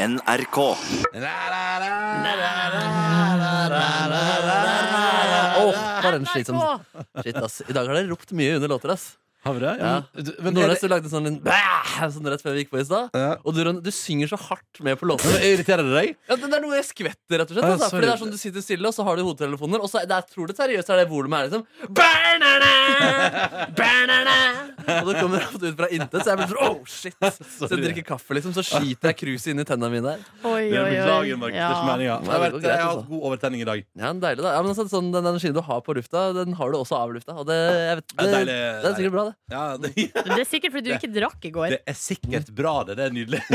NRK. Åh, var den slitsom Shit, ass. I dag har dere ropt mye under låter, ass. Har vi det? Ja. Ja. men- du- Men, er Nordnes, det- du lagde en sånn, en bæh, sånn rett før vi gikk på i stad. Ja. Og du, Ron, du synger så hardt med på men låter. Irriterer det deg? Ja, det det er noe jeg skvetter, rett og slett. Ah, Altså, sorry. fordi det er sånn Du sitter stille, og så har du hodetelefoner, og så er- det er, tror du seriøst er det volumet her, liksom. Banana, banana. Og det kommer ofte ut fra intet, så jeg blir sånn oh shit. Så jeg drikker kaffe, liksom, så skiter jeg kruset inn i tennene mine der. Oi, Dere oi, oi. beklager, Markus. Det er ikke Ja. meninga. Jeg, Nei, det vet går det, jeg greit, har altså. hatt god overtenning i dag. Ja, men deilig da. Ja, men altså, sånn, Den energien du har på lufta, den har du også av lufta. Og det, jeg vet, det, Ja, det, deilig, er sikkert bra, det. Ja, det, Det er sikkert fordi du ikke drakk i går. det er sikkert bra, det. Det er nydelig.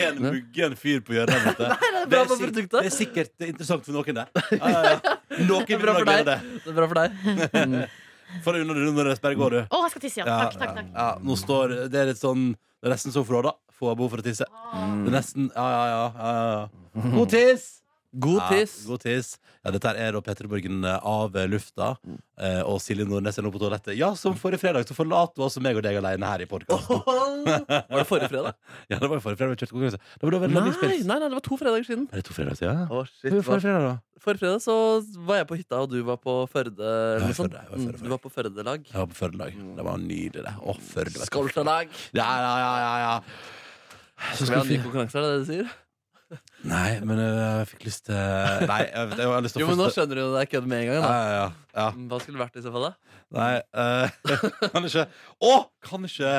en muggen fyr på hjørnet. vet du. bra Det er for sik- produktet. Det er sikkert interessant for noen, det. Ja, ja, ja. Noen Det vil er bra nok for gjøre deg. det. Det er bra for deg. For unna du når det sperrer, går du. Å, jeg skal tisse, ja. Takk, takk, takk. Ja, nå står Det er litt sånn Det er nesten så forråda. Får jeg behov for å tisse. Ah. Det er nesten Ja, ja, ja. ja, ja. God tiss! God tiss. Ja, god tiss. Ja, dette her er da Petter Borgen eh, av eh, lufta, eh, og Silje Nordnes er nå på toalettet. Ja, som forrige fredag, så forlater hun også meg og deg alene her i podkasten. Var det forrige fredag? Ja, det var jo forrige fredag vi kjørte konkurranse. Da var det vel Nei, nei, lagringspils. nei, det var to fredager siden. Er det to fredager siden? Ja. Oh, shit, Det var Forrige fredag, da. Forrige fredag så var jeg på hytta, og du var på Førde. Jeg Eller var i noe sånt. Førde, jeg var i Førde. Mm, Du var på Førdelag. Jeg var på Førdelag. Det var nydelig, det. Å, Førde. vet du. Skoltalag. Ja, ja, ja, ja, ja. Så skal Skal vi ha en vi ny konkurranse, er det det du sier? Nei, men eh, jeg fikk lyst til Nei, jeg, vet, jeg har lyst til Jo, å men nå forstå- skjønner du jo det er kødd med en gang. Ja, Da. ja, ja. ja. Hva skulle det vært i så fall, da? Nei, eh, kan ikke Å! Kan ikke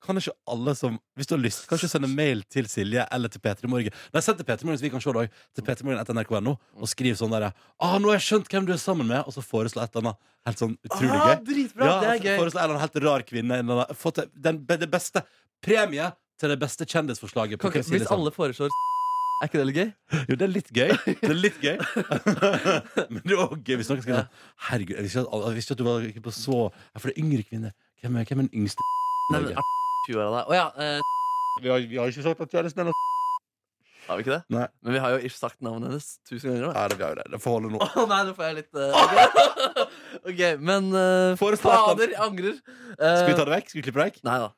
kan ikke alle som Hvis du har lyst, kan ikke sende mail til Silje eller til Peter i morgen. Nei, send til Peter i morgen, så vi kan se det òg. Til Peter i morgen etter nrk.no, og skriv sånn derre ah, 'Nå har jeg skjønt hvem du er sammen med', og så foreslå et eller annet helt sånn utrolig Ah, gøy. dritbra! det er altså, gøy. Foreslå en eller annen helt rar kvinne. en eller annen- Få til den, det beste premie til det beste kjendisforslaget. på Kan ikke, Silje hvis sammen. alle foreslår er ikke det litt gøy? Jo, det er litt gøy. Det er litt gøy. Men det er også gøy hvis noen skal si sånn, Herregud, jeg visste, ikke at, jeg visste at du var ikke på så Ja, For det er yngre kvinner. Hvem er, hvem er den yngste? i Nei, Norge? men er 20 år av deg. Å ja, eh, vi, har, vi har ikke sagt at du er snill. har vi ikke det? Nei. Men vi har jo ikke sagt navnet hennes tusen ganger. da. Ja, det blir jo det. Det får holde nå. Å nei, nå får jeg litt eh, OK, men eh, Får du starten? Fader, jeg angrer. Eh, Skal vi ta det vekk? Skal vi klippe det vekk? Nei da.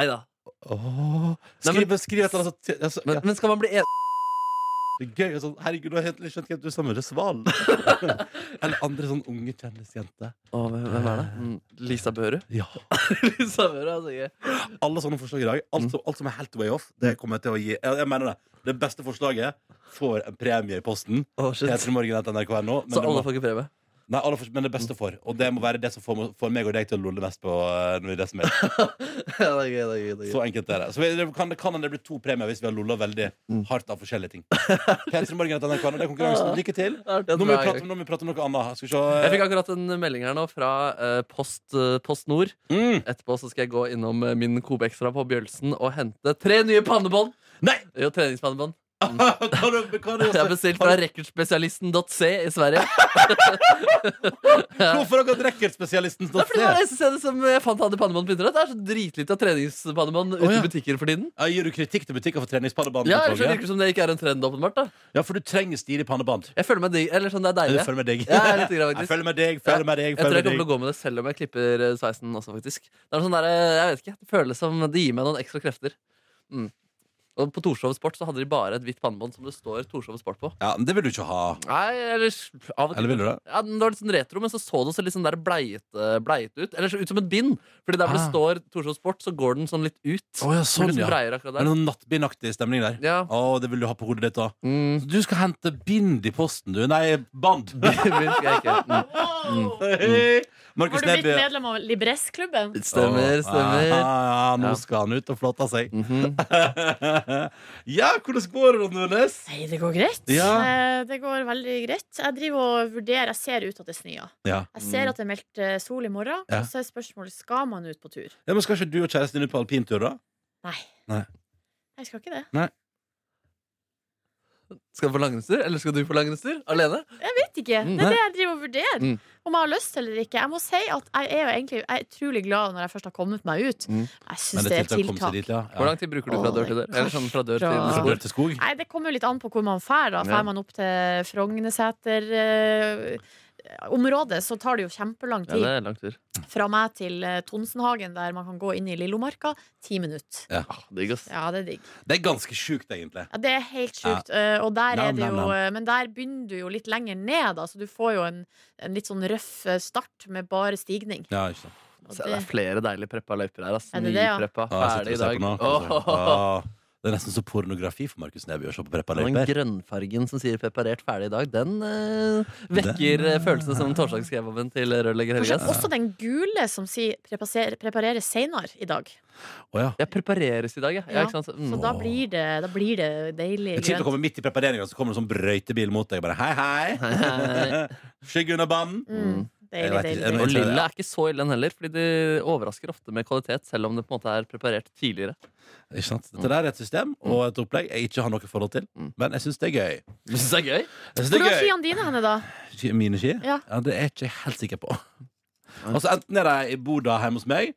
Nei da. Åh, Nei, skriv, men- skriv et eller annet sånt. Altså, Men, ja, men skal man bli enig? det er gøy. og Sånn, herregud, du har helt skjønt hvem du er sammen med. Det er Svalen. eller andre sånn unge kjendisjenter. Å, hvem, hvem er det? Mm, Lisa Børu? Ja. Lisa Børu altså, er så gøy. Alle sånne forslag i dag. Alt som, alt som er helt way off, det kommer jeg til å gi. Jeg, jeg mener det. Det beste forslaget får en premie i posten. Å, shit. Peter Morgen heter NRK nå. Men, Så det, alle må, får ikke premie? nei, alle får, men det beste får. Og det må være det som får, får meg og deg til å lolle mest på. eh, når vi det som er. Ja, det er gøy, det er gøy, det er gøy. Så enkelt er det. Så vi, det kan, det kan det bli to premier hvis vi har lolla veldig hardt av forskjellige ting. Peter Morgen heter NRK nå. Det er konkurransen. Lykke til. Det er artig at Nå må vi det er prate, gøy. om- nå må vi prate om noe annet. Skal vi se. Jeg fikk akkurat en melding her nå fra eh, post, eh, post Nord. Mm. Etterpå så skal jeg gå innom eh, min Kobe Extra på Bjølsen og hente tre nye pannebånd. Nei! Jo, treningspannebånd. Kan du, kan du Jeg Altså, har bestilt fra rekkertspesialisten.c i Sverige. Hvorfor har dere rekkertspesialisten Det stått er fordi det var det eneste stedet som jeg fant hadde pannebånd på internett. Det er så dritlite av treningspannebånd ute Å, ja. i butikker for tiden. Ja, Gir du kritikk til butikker for treningspannebanen? Ja, ellers så virker det som det ikke er en trend, åpenbart. da ja, for du trenger stilig pannebånd. Jeg føler meg digg, eller sånn, det er Jeg deilig. følger med deg. Ja, litt grann, faktisk. Jeg følger med deg, følger med deg. Jeg tror Følger jeg kommer med til å deg. gå med det selv om jeg klipper eh, sveisen også, faktisk. Det er noe sånn der, eh, jeg vet ikke, det føles som det gir meg noen ekstra krefter. Mm. Og på Torshov Sport så hadde de bare et hvitt pannebånd som det står Torshov Sport på. Ja, men det vil du ikke ha. Nei, eller s- av og til. Eller vil du det? Ja, den var litt sånn retro, men så så det også litt sånn der bleiete bleit ut. Eller så ut som et bind. Fordi der hvor det Ah. står Torshov Sport, så går den sånn litt ut. Å ja, Så sånn, blir det ja. sånn breiere akkurat Det er der. noen nattbindaktig stemning der. Ja. Å, det vil du ha på hodet ditt, da. Mm. Du skal hente bind i posten, du. Nei, band. Bind skal jeg ikke. Mm. Hei. Markus Har du blitt Neby. medlem av Libressklubben? Stemmer, Å, Ja, stemmer. ja, nå Ja. skal han ut og flotte seg. Mhm. ja, hvordan går det, Nordnes? Nei, det går greit. Ja. Eh, Det går veldig greit. Jeg driver og vurderer. Jeg ser ut at det snør. Ja. Jeg ser at det er meldt eh, sol i morgen. Mm. Ja. Og så er spørsmålet skal man ut på tur. ja, men Skal ikke du og kjæresten din ut på alpintur, da? Nei. Nei. Jeg skal ikke det. Skal du på langrennstur, eller skal du på langrennstur? Alene? Jeg vet ikke. Mm. Det er det jeg driver og vurderer. Mm. Om jeg har lyst eller ikke. Jeg må si at jeg er jo egentlig jeg er utrolig glad når jeg først har kommet meg ut. Mm. Jeg Men syns det tiltak er å komme seg tiltak. dit, ja. Hvor ja. lang tid bruker du fra dør til dør? Eller sånn fra dør til Fra- Fra spor? dør til skog? Nei, Det kommer jo litt an på hvor man drar. da. Ja. Drar man opp til Frogneseter, eh, området så tar det jo kjempelang Ja, tid. det er lang tur. Fra meg til eh, Tonsenhagen, der man kan gå inn i Lillomarka, ti minutter. Ah, digg, ass. Ja, det er digg. Det er ganske sjukt, egentlig. Ja, det er helt sjukt. eh, Og der Nam, er det nam, jo nam. eh, Men der begynner du jo litt lenger ned, da, så du får jo en, en litt sånn røff eh, start med bare stigning. Ja, ikke sant. Og Se, det er flere deilige preppa løyper her. ass Er det det, ja? Nypreppa, Ja, jeg ferdig sitter i og ser dag. på nå. Åh, Ja, Det er nesten så pornografi for Markus Neby å se på Preppa Den Løyper. grønnfargen som sier 'preparert ferdig i dag', den eh, vekker Den- eh, følelsene som Torsak skrev om den til rørlegger Kanskje Helges. også den gule som sier prepasser- 'preparere seinere' i dag. Å ja. Jeg prepareres i dag, ja. ja. Ja, ikke sant? Så Mm. da blir det, da blir det deilig Det er kjipt å grønt. komme midt i prepareringa, så kommer det en sånn brøytebil mot deg. Bare hei, hei. Hei. Skygg unna banen. Mm, Jeg deilig, vet deilig, ikke, Og deilig. tror det, lilla ja. er ikke så ille den heller, fordi de overrasker ofte med kvalitet, selv om det på en måte er preparert tidligere. Ikke sant? Dette der er et system Mm. og et opplegg jeg ikke har noe forhold til, Mm. men jeg syns det er gøy. Du synes det er gøy? Jeg synes Hvor det var er gøy. skiene dine henne, da? Ski- Mine ski? Ja. det er jeg ikke helt sikker på. Altså Enten er de i Boda hjemme hos meg.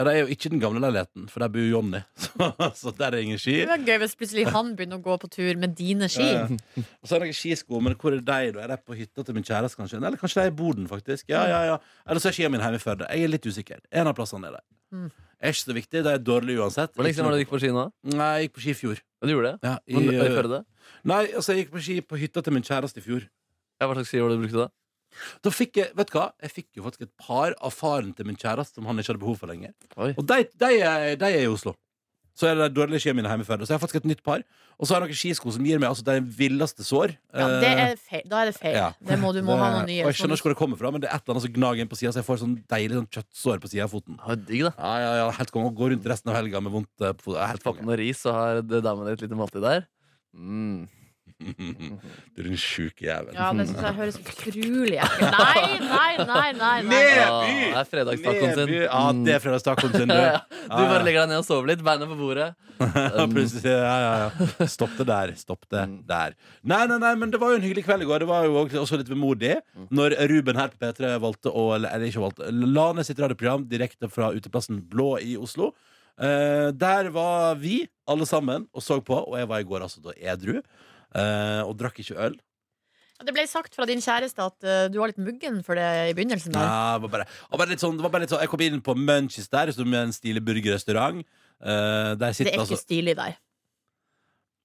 Ja, Det er jo ikke den gamle leiligheten, for der bor Jonny. Så, så der er ingen ski. Det var gøy hvis plutselig han begynner å gå på tur med dine ski. Ja, ja. Og så er det noen skisko, men hvor er de? da? Er de på hytta til min kjæreste, kanskje? Eller kanskje de er i Boden, faktisk? Ja, ja, ja. Eller så er skia mine hjemme i Førde. Jeg er litt usikker. En av plassene er det. Mm. Er ikke så viktig. Det er dårlig uansett. Hvor lenge siden var det du gikk på ski nå? Nei, jeg gikk på ski i fjor. Du gjorde det? Ja, i, eh, Men, I Førde? nei, altså, jeg gikk på ski på hytta til min kjæreste i fjor. Ja, hva slags ski var det du brukte da? Da fikk jeg, vet du hva? Jeg fikk jo faktisk et par av faren til min kjæreste som han ikke hadde behov for lenger. Oi. Og de, de, er, de er i Oslo. Så er det de dårlige skiene mine hjemme i Førde. Så jeg har faktisk et nytt par. Og så har jeg noen skisko som gir meg altså, de villeste sår. Eh, Ja, det er feil. Da er det feil. Ja. Det må, du må Det- ha noe Og jeg skjønner nye. ikke hvor det kommer fra, men det er et eller annet som gnager inn på sida, så jeg får sånn deilig sånn kjøttsår på sida av foten. Ja, digg, da. Ja, ja, ja, helt konge. Og Går rundt resten av helga med vondt eh, på foten. Ja, Helt Få på konge. noe ris, så har det damen et lite måltid der. Mm. Du er en sjuk jævel. Ja, det synes jeg høres utrolig ekkelt Nei, nei, nei, nei. nei. Ned! Ah, det er fredagstacoen sin. Neby. Ja, det Mm. er fredagstacoen sin, du. Ja, ja. Ja, Du bare ja. legger deg ned og sover litt, beina på bordet. Ja, Um, plutselig, ja, ja, ja. Stopp det der. Stopp det Mm. der. Nei, nei, nei, men det var jo en hyggelig kveld i går. Det var jo også- også litt vemodig Mm. når Ruben her på P3 valgte å Eller eller ikke valgte. La ned sitt radioprogram direkte fra uteplassen Blå i Oslo. Eh, der var vi alle sammen og så på, og jeg var i går altså da edru. eh, og drakk ikke øl. Det ble sagt fra din kjæreste at eh, du var litt muggen for det i begynnelsen. Der. Ja, det, var bare, det var bare litt sånn, det var bare litt sånn Jeg kom inn på Munchies der, som er en stilig burgerrestaurant. Eh, der Det sitter er altså ikke stilig der.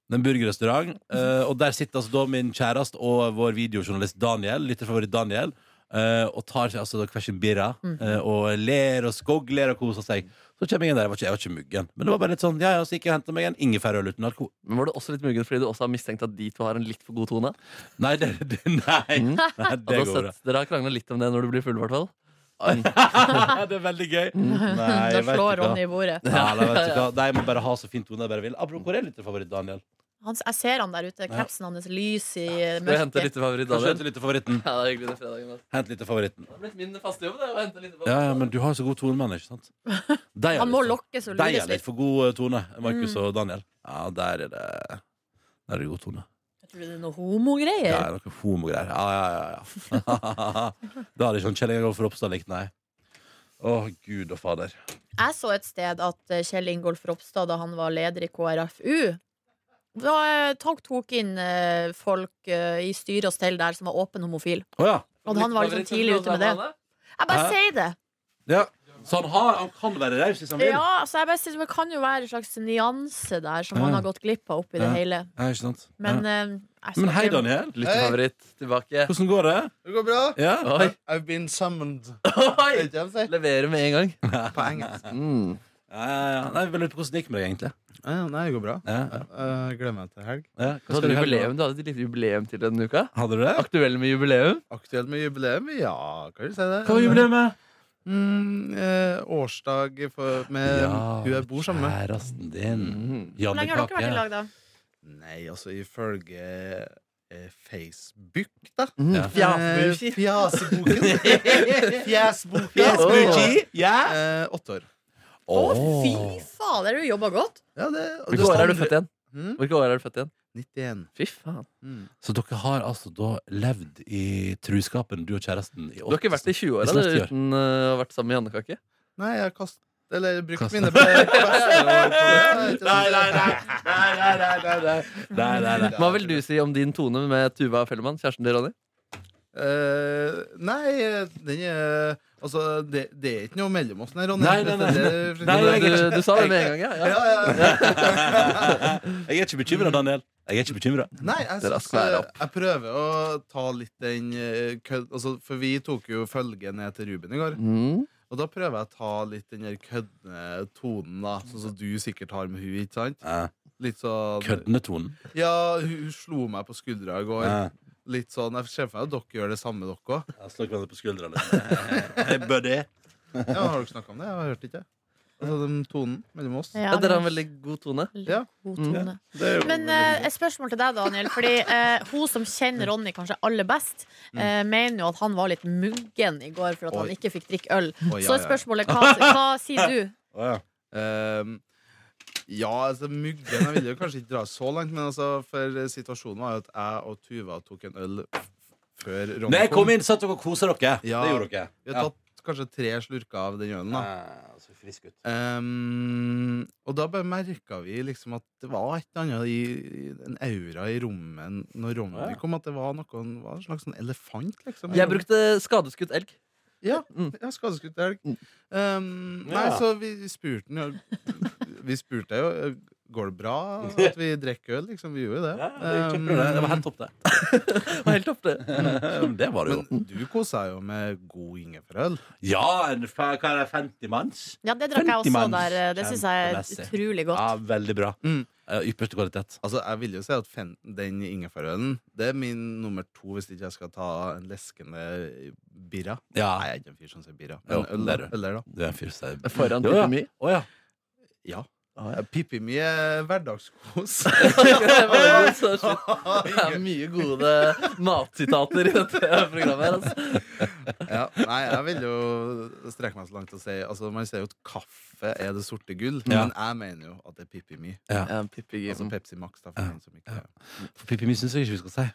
Det er en burgerrestaurant. eh, og der sitter altså da min kjæreste og vår videojournalist Daniel, lytterfavoritt Daniel, eh, og tar seg altså da hver sin birra eh, og ler og skogler og koser seg. Så kommer jeg inn der. Jeg var ikke, jeg var ikke muggen. Men det var bare litt sånn, ja, ja, så gikk jeg og henta meg en ingefærøl uten alkohol. Men var du også litt muggen fordi du også har mistenkt at de to har en litt for god tone? Nei, det, det, nei, Mm. nei, At du det har går bra. sett, dere har krangla litt om det når du blir full, i hvert fall. det er veldig gøy. Mm. da Nei, vet du slår hva. Ronny i bordet. Ja, nei, vet du hva. Nei, jeg må bare ha så fin tone jeg bare vil. Apropos, hvor er lytterfavoritt Daniel? Han, jeg ser han der ute. Kapsen hans lys i eh, Skal jeg hente mørket. litt favoritt, Kanskje Daniel? hente lytterfavoritten? Ja, det er hyggelig den fredagen. ass. Hent lytterfavoritten. Det har blitt min faste jobb, det, å hente litt Ja, ja, men du har jo så god tone med han, ikke sant? liksom. Deg er Han må litt- lokkes og De lures er litt litt. for god eh, tone, Mm. Markus og Daniel. Ja, der er det Der er det god tone. Jeg tror det er noe Det homogreier. er noe homogreier. Ja, ja, ja. ja. da hadde ikke sånn han Kjell Ingolf Ropstad likt, nei. Å, gud og fader. Jeg så et sted at eh, Kjell Ingolf Ropstad, da han var leder i KrFU da eh, tok, tok inn eh, folk eh, i styre og stell der som var åpen homofil. Å ja. Og han var liksom tidlig ute med det. Jeg Hæ? bare sier det. ja. Så han, har, han kan være raus hvis han vil? Ja, altså jeg bare sier, Det kan jo være en slags nyanse der som han Ja. har gått glipp av oppi det Ja. hele. Ja, ikke sant? Men, ja. eh, jeg Men hei, snakker- Daniel. Lyttefavoritt tilbake. Hvordan går det? Det går bra. Ja? Oi, I've been summoned. oi! Vet ikke hva jeg sier Leverer med en gang. på engelsk. Mm. Ja, ja, ja. Nei, jeg lurer på hvordan det gikk med deg, egentlig. Ja, nei, det går bra. Ja, ja. Uh, gleder meg til helg. Ja. Du hadde, jubileum, du hadde et lite jubileum til denne uka. Hadde du det? Aktuell med jubileum. Aktuelt med jubileum? Ja, kan du si det? Hva var jubileumet? Mm, eh, årsdag for, med Eh, hun jeg bor sammen med. Kjæresten din. Mm. Hvor Janne lenge har dere vært i Kake. lag, da? Nei, altså ifølge eh, Facebook, da. Mm. Eh, Fjaseboken. Fjesboken. Smoochie? Ja? Eh, åtte år. Å, fy fader, du jobba godt! Ja, det, Hvilke år er du født igjen? Mm, Hvilke år er du født igjen? 91. Fy faen. Mm. Så dere har altså da levd i truskapen, du og kjæresten? I Du har ikke vært i 20-åra Snart ti du, år. uten uh, å ha vært sammen med Jannekake? Nei, jeg har kast... Eller brukt Kastet. mine be- beste år på det. Nei, nei, nei. Nei, nei, nei, nei, nei. Nei, nei, nei. Hva vil du si om din tone med Tuva Fellmann, kjæresten til Ronny? Eh, nei, eh, den er Altså, det, det er ikke noe mellom oss, nei, Ronny. Nei, nei, nei. Det er- Nei, nei, du, jeg- eh, du sa det med en gang, ja. ja. Ja, ja, ja. Jeg er ikke bekymra, Daniel. Jeg er ikke bekymra. Nei, jeg, Det er synes, rask vær opp. eh, jeg prøver å ta litt den eh, kødd... Altså, for vi tok jo følge ned til Ruben i går. Mm. Og da prøver jeg å ta litt den der køddende tonen, da. Sånn som du sikkert har med hun, ikke sant? Eh, Litt sånn Køddende-tonen. Ja, hun, hun slo meg på skuldra i går. Eh, Litt sånn, Jeg ser for meg at dere gjør det samme, dere òg. Jeg slår hverandre på skuldra litt. Hey, buddy. Ja, har dere snakka om det? Jeg har hørt ikke. Altså, den tonen mellom oss. Ja, dere har en veldig god tone. Ja. God Mm. tone. Det er jo Men eh, et spørsmål til deg, Daniel. Fordi eh, Hun som kjenner Ronny kanskje aller best, eh, mener jo at han var litt muggen i går for at Mm. Oi. han ikke fikk drikke øl. Å, ja, Så ja. spørsmålet hva, hva sier du? Å, ja. Ehm, ja, altså muggen Jeg ville jo kanskje ikke dra så langt, men altså, for situasjonen var jo at jeg og Tuva tok en øl f- før Ronny Nei, kom inn, satt dere og kosa dere. Ja. Det gjorde dere. Vi har tatt kanskje tre slurker av den ølen, da. Eh, så frisk ut. Ehm, og da bare merka vi liksom at det var et eller annet i, en aura i rommet n- når Ronny Ja. kom, at det var noen, var en slags sånn elefant, liksom. i Jeg rommet. brukte skadeskutt elg. Ja, Mm. ja skadeskutt elg. Mm. Ehm, nei, Ja. så vi spurte den jo Vi spurte deg jo eh, Går det bra at vi drikker øl, liksom. Vi gjorde jo det. Ja, det, gikk Ehm, kjempebra, det. det var helt topp, det. Det var helt topp, det. Men det var det jo. Ehm, men du kosa deg jo med god ingefærøl. Ja, en, fa- hva er det, 50 manns? Ja, det drakk jeg 50 også manns. der. eh, Det syns jeg er Kjempemessig. utrolig Ja, godt. veldig bra. Mm. Eh, Ypperste kvalitet. Altså, jeg vil jo si at fen, den ingefærølen Det er min nummer to hvis ikke jeg skal ta en leskende birra. Ja, Nei, jeg er ikke en fyr som sier birra. Jo, Men øl, det er da. Øl er da. du er en fyr som er Foran Jo, ja. Tippi Mi. Å ja. Ja. Ah, Pippi mi er hverdagskos. Det var så shit. Det er ja. mye gode matsitater i dette programmet. her, Altså. Nei, jeg vil jo strekke meg så langt og si altså, Man sier jo at kaffe er det sorte gull, Ja. men jeg mener jo at det er Pippi mi. Ja, Pippi Altså Gim. Pepsi Max, da, for Ja. den som ikke For Pippi Mi syns jeg ikke vi skal si.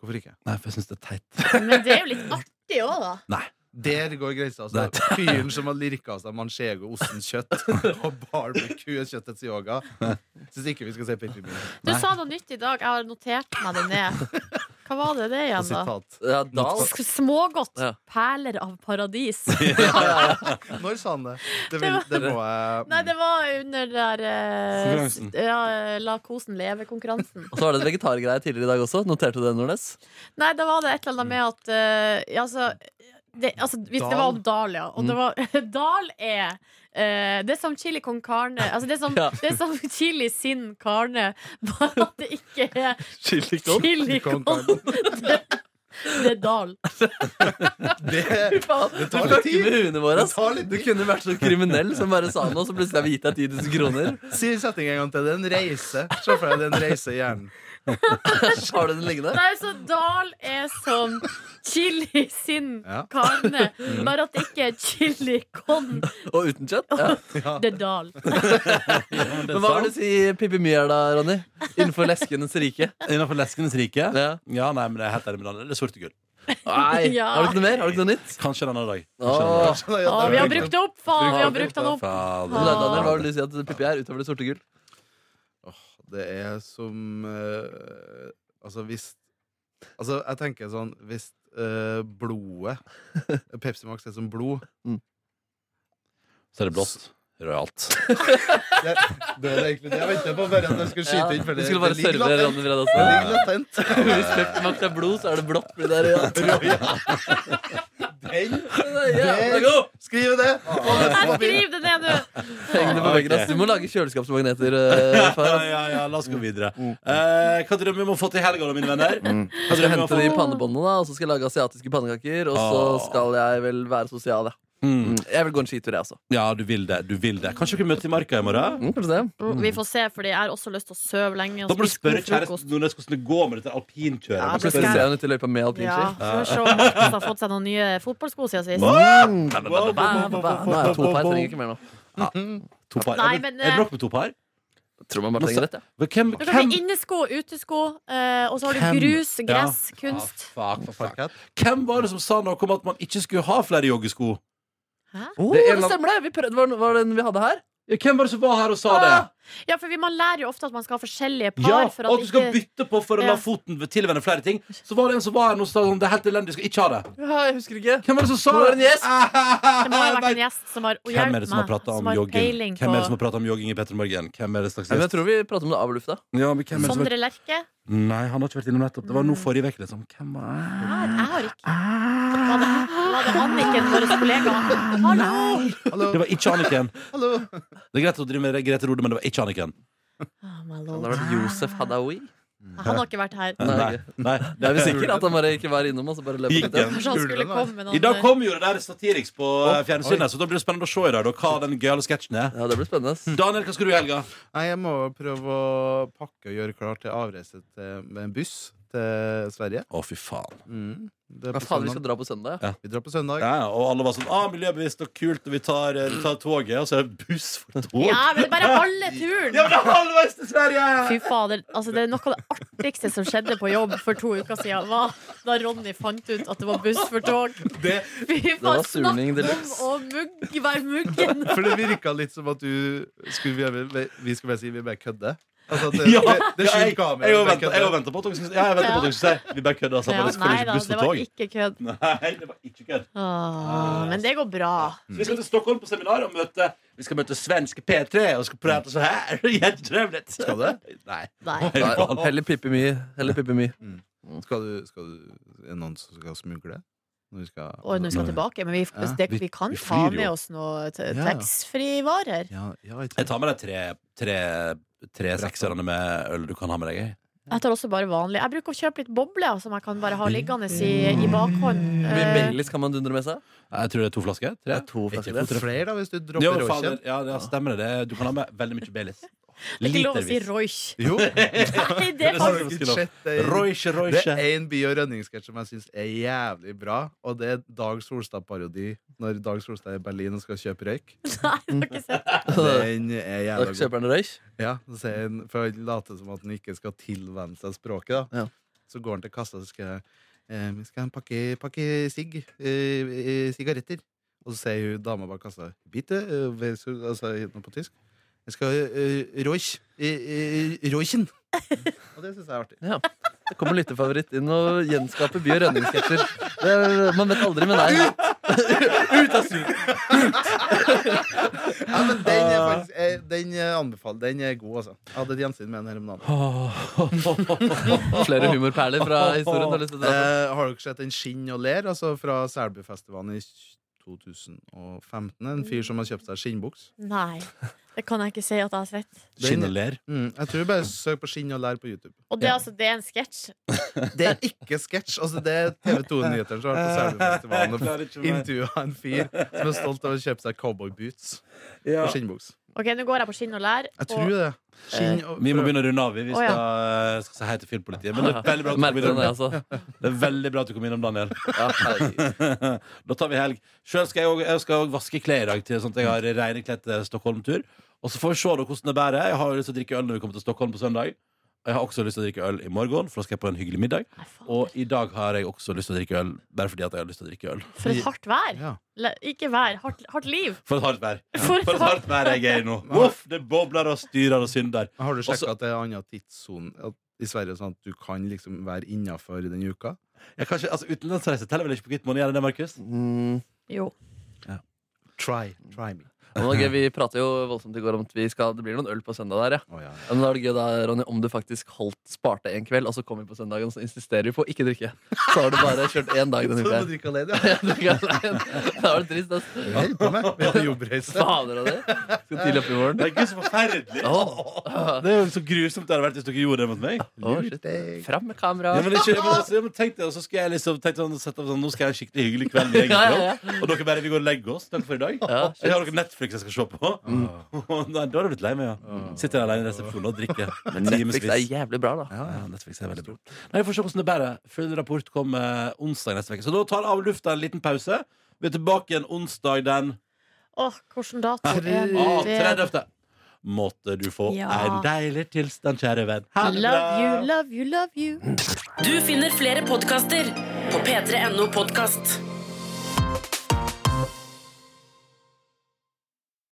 Hvorfor ikke? Nei, for jeg syns det er teit. Men det er jo litt artig òg, da. Der går grensa. Nei. Altså. Fyren som har lirka av seg manchego, ostens kjøtt og barbecue-kjøttets yoga. Syns ikke vi skal si Pippi mi. Du sa noe nytt i dag. Jeg har notert meg det ned. Hva var det det Og igjen, da? sitat. Ja, Dahl. Sk- Smågodt. Ja. Perler av paradis. Når sa han det? Det, vil, det må jeg Nei, det var under der eh, s- Konkurransen. ja, La kosen leve-konkurransen. Og så var det et vegetargreie tidligere i dag også. Noterte du det, Nordnes? Nei, da var det et eller annet med at eh, ja, altså, det, altså, hvis Det var om Dal, Mm. ja. Og det var, Dal er eh, det er som chili con carne Altså det er som, Ja. det er som chili sin carne, bare at det ikke er Chili chili con Det, det er Dal. Det, Du tar litt fucker tid. med huene våre. det ass. tar litt Du kunne vært så kriminell som bare sa noe, så plutselig har vi gitt deg 10 000 kroner. Si setningen en gang til. Det er en reise. Se for deg det er en reise i hjernen. Så har du den liggende. Nei, så Dal er som chili sin Ja. carne, bare at det ikke er chili con Og uten kjøtt. Ja. Det er Dal. Men hva vil du si Pippi Mi er da, Ronny? Innenfor leskenes rike. Innenfor leskenes rike? Ja. Ja, nei, men jeg er helt enig med Daniel. Det er sorte gull. Nei. Ja. Har du ikke noe mer? Har du ikke noe nytt? Kanskje en annen dag. Kanskje en annen dag. Åh. Skjønner jeg Å, at vi det er har brukt det opp, faen! Vi har brukt den opp. Fader. Men da, Daniel, hva vil du si at Pippi er utover det sorte gull? Åh, Det er som eh, Altså, hvis Altså, jeg tenker sånn Hvis eh, blodet Pepsi Max er som blod Så er det blått. Rojalt. Det, det er egentlig det jeg venter på, bare at jeg skulle skyte inn. For du det, skulle bare det ligger serve latent. Ronny fra det også. Det ligger latent. Hvis Pepsi Max er blod, så er det blått. fordi Det er rødt. Den, Det er jævla god. skriv det! Jeg skriver det ned nå. Heng det på veggen. ass. Du må lage kjøleskapsmagneter. eh, far, Ja, ass. ja, ja, la oss gå videre. Eh, hva drømmer vi om å få til i helga, da, mine venner? Hva Jeg skal drømmer vi om å hente få de pannebåndene, da, og så skal jeg lage asiatiske pannekaker. Og så Åh. skal jeg vel være sosial, ja. Mm. Mm, Jeg vil gå en skitur, jeg også. Ja, du vil det. du vil det Kanskje dere møtes i Marka i morgen? Mm, kanskje det. Vi får se, fordi jeg har også lyst til å sove lenge. Da må du spørre kjæresten kjæresten. Nordnes hvordan det går med dette alpinkjøret. Du Ja, det skal Plutselig spørre- ser hun ut i løypa med Ja, alpinski. får se om Markus har fått seg noen nye fotballsko siden sist. Mm. Ba, ba, ba, ba, ba. Nå er jeg to par, trenger ikke mer nå. To par. Nei, Ja, men, men, er eh, det nok med to par? Tror man bare trenger rett, ja. Men Hvem, Du kan hvem? ha innesko, utesko, eh, og så har Hvem? du grus, gress, Ja. kunst. Ah, fuck, fuck, fuck. Hvem var det som sa noe om at man ikke skulle ha flere joggesko? Det, er en eller annen- det stemmer, det! Vi prøvde, var, var den vi hadde her? Ja, hvem var det som var her og sa det? Ja, for vi- man lærer jo ofte at man skal ha forskjellige par. Ja, Ah, for og at du skal ikke- bytte på for å la Ja. foten tilvenne flere ting. Så var det en som var her nå og sa sånn, det er helt elendig, du skal ikke ha det. Ja, jeg husker ikke. Hvem var det som sa Det var det? Ah, en gjest. Det må ha vært en gjest som har og Hvem hjelp er det som har meg, prata om har jogging? peiling Hvem er det på- som har pratet om jogging i Petter Morgen? Hvem er det slags Ja, men jeg gjest? tror vi prater om det av lufta. Ja, men hvem er det som har... Sondre Lerche? Nei, han har ikke vært innom nettopp. Det var nå forrige uke, liksom. Hvem Nei, var Jeg har ikke Var det, var det Anniken, vår kollega? Ah, Hallo! Hallo, Det var ikke Anniken. hallo. Det er greit å drive med Grete Rode, men det var ikke Anniken. Ah, my Det lord. har vært Josef Hadaoui. Han har ikke vært her. Nei, Nei. ok. Nei. Det er vi sikre at han bare ikke var innom. Og så bare løp Gikk litt, ja. igjen. Kanskje han skulle Ulven, da. komme med noen I dag kom jo det der Satiriks på eh, fjernsynet, oi. så da blir det spennende å se i dag da, hva den gøyale sketsjen er. Ja, det blir spennende. ass. Daniel, hva skal du i helga? Nei, jeg må prøve å pakke og gjøre klar til avreise til, med en buss til Sverige. Å, fy faen. Mm. Det er Ja, på faen, vi skal søndag. dra på søndag. Vi drar på søndag. Ja, og alle var sånn ah, 'miljøbevisst og kult', og vi tar, eh, vi tar toget, og så er det buss for tog. Ja, men det er bare halve turen! Ja, men det er halvveis til Sverige! Fy fader, altså Det er noe av det artigste som skjedde på jobb for to uker siden. Var da Ronny fant ut at det var buss for tog. Det, Fy var faen, snakk surning de om luxe. å mugg, være muggen! For det virka litt som at du skulle Vi, vi skulle bare si vi bare kødder. Altså, at det, ja, det, det ja, skjuler jeg- jeg har kameraet. vi bare ventet- jeg har kødder. ventet på at dere skulle si Ja, jeg ventet på at dere skulle si Vi bare kødder sammen. Ja, det skulle nei ikke da, buss det for tog. var ikke kødd. Nei, det var ikke kødd. Ah, men det går bra. Så Mm. vi skal til Stockholm på seminar og møte Vi skal møte svenske P3 og skal prate så her. Gjentrevlet. Skal du? Nei. Nei. Nei, Heller Pippi My. Heller Pippi My. Skal du, skal du, er det noen som skal smugle? Når vi skal, Og når vi skal tilbake. Men vi, Ja, det, vi- vi kan vi ta flyr jo. med oss noe t- Ja. taxfree-varer. ja, ja, jeg Jeg tror- tar med deg tre, tre, tre sekserne med øl du kan ha med deg i. Jeg tar også bare vanlig. Jeg bruker å kjøpe litt bobler som jeg kan bare Mm. ha liggende i, i Hvor bakhånd. mye Eh, Baileys kan man dundre med seg? Jeg tror det er to flasker. Tre. to Det er flere, da, hvis du dropper Jo, Rochen. fader, ja, det stemmer det. det. Du kan ha med veldig mye Baileys. det er ikke lov å si Litervis. Roich. Jo, Nei, det er har faktisk du ikke sett det? Royche, Det Royche. er en By- og redningssketsj som jeg syns er jævlig bra, og det er Dag Solstad-parodi når Dag Solstad er i Berlin og skal kjøpe røyk. Nei, jeg har ikke sett Den er Da jævla god. kjøper han røyk. Ja, så sier han- for han later som at han ikke skal tilvenne seg språket, da. Ja. Så går han til kassa og skal eh, Skal han pakke, pakke sigg? Eh, eh, sigaretter? Og så sier hun dama bak kassa Bitte? eh, vel, så- Altså noe på tysk. Jeg skal eh, Roich. eh, eh, Roichen. Og det syns jeg er artig. Ja. Det kommer lyttefavoritt inn og gjenskaper By- og rønningssketsjer. Det- Man vet aldri med deg. Ut av studio! Ja, men den, er faktisk, eh, den eh, anbefaler Den er god, altså. Jeg hadde et gjensyn med den her om dagen. Flere humorperler fra historien. Har du lyst til å dra på? Eh, har dere sett en skinn og ler? Altså fra Selbufestivalen i 2015. En fyr som har kjøpt seg skinnbuks. Nei. Det kan jeg ikke si at jeg har sett. Skinn og ler. Mm, jeg tror bare søk på skinn og lær på YouTube. Og det, er altså, det er en sketsj. Det er ikke sketsj! Altså, det er TV 2-nyhetene som har vært på Selbufestivalen og intervjua en fyr som er stolt av å kjøpe seg cowboyboots og skinnbuks. Eh, Ok, nå går jeg på skinn og lær. Jeg og- tror det. Skinn og Vi må begynne å runde av. Vi Vi Å, ja. skal, skal si hei til filmpolitiet. Men det er veldig bra at du kom Merker den, innom, jeg, altså. det er veldig bra at du kom innom Daniel. Ja, herregud. da tar vi helg. Sjøl skal jeg også- jeg skal også vaske klær i dag, til, sånn at jeg har rene klær til Stockholm-tur. Og så får vi se da hvordan det bærer. Jeg har jo lyst til å drikke øl når vi kommer til Stockholm på søndag. Og jeg har også lyst til å drikke øl i morgen, for da skal jeg på en hyggelig middag. Nei, faen, Og i dag har jeg også lyst til å drikke øl, bare fordi at jeg har lyst til å drikke øl. For et hardt vær. Ja. Le- Ikke vær. Hardt, hardt liv. For et hardt vær. For For et hardt vær jeg er i nå. Voff, det bobler og styrer og synder. Har du Også- sjekka at det er annen tidssone at- i Sverige, sånn at du kan liksom være innafor den uka? Jeg kan ikke, altså Utenlandsreise teller vel ikke på kvitt måned? Gjør det det, Markus? Mm. Jo. Try, try me. Men det var gøy, Vi prater jo voldsomt i går om at vi skal, det blir noen øl på søndag. der, ja. Å, ja. Ja, Men da er det gøy da, Ronny, om du faktisk holdt, sparte en kveld, og så kom vi på søndagen, så insisterer vi på å ikke drikke. Så har du bare kjørt én dag denne Så du må uka. drikke alene, Ja, ja. du kan- Da var det trist, ass. Jeg holder på med. Vi har jobbreise. Fader av det. Skal tidlig opp i morgen. Det er ikke så forferdelig. Åh. Det er jo så grusomt det hadde vært hvis dere gjorde det mot meg. Åh, shit. Deg. Fram med Ja, kameraet. men ikke, men altså, ja, men tenk det, og så skal jeg liksom tenk sånn, sette opp sånn, Nå skal jeg ha en skikkelig hyggelig kveld med egen Ja, ja, kropp, Og dere bare, vi går og legger oss Takk for i dag Ja, shit. Jeg har noen Netflix jeg skal se på Nei, Da har du blitt lei meg, ja Sitter jeg alene i resepsjonen og drikker Men Netflix er timesvis. jævlig bra, da. ja, ja, Netflix er veldig bra Nei, vi får se hvordan det bærer Full rapport kommer eh, onsdag neste vek Så da tar av lufta en liten pause Vi er tilbake igjen onsdag den Åh, hvilken dato er ah, det? 30. Måtte du få Ja. en deilig tilstand, kjære venn Ha det bra Love you, love you, love you. Du finner flere podkaster på p3.no podkast.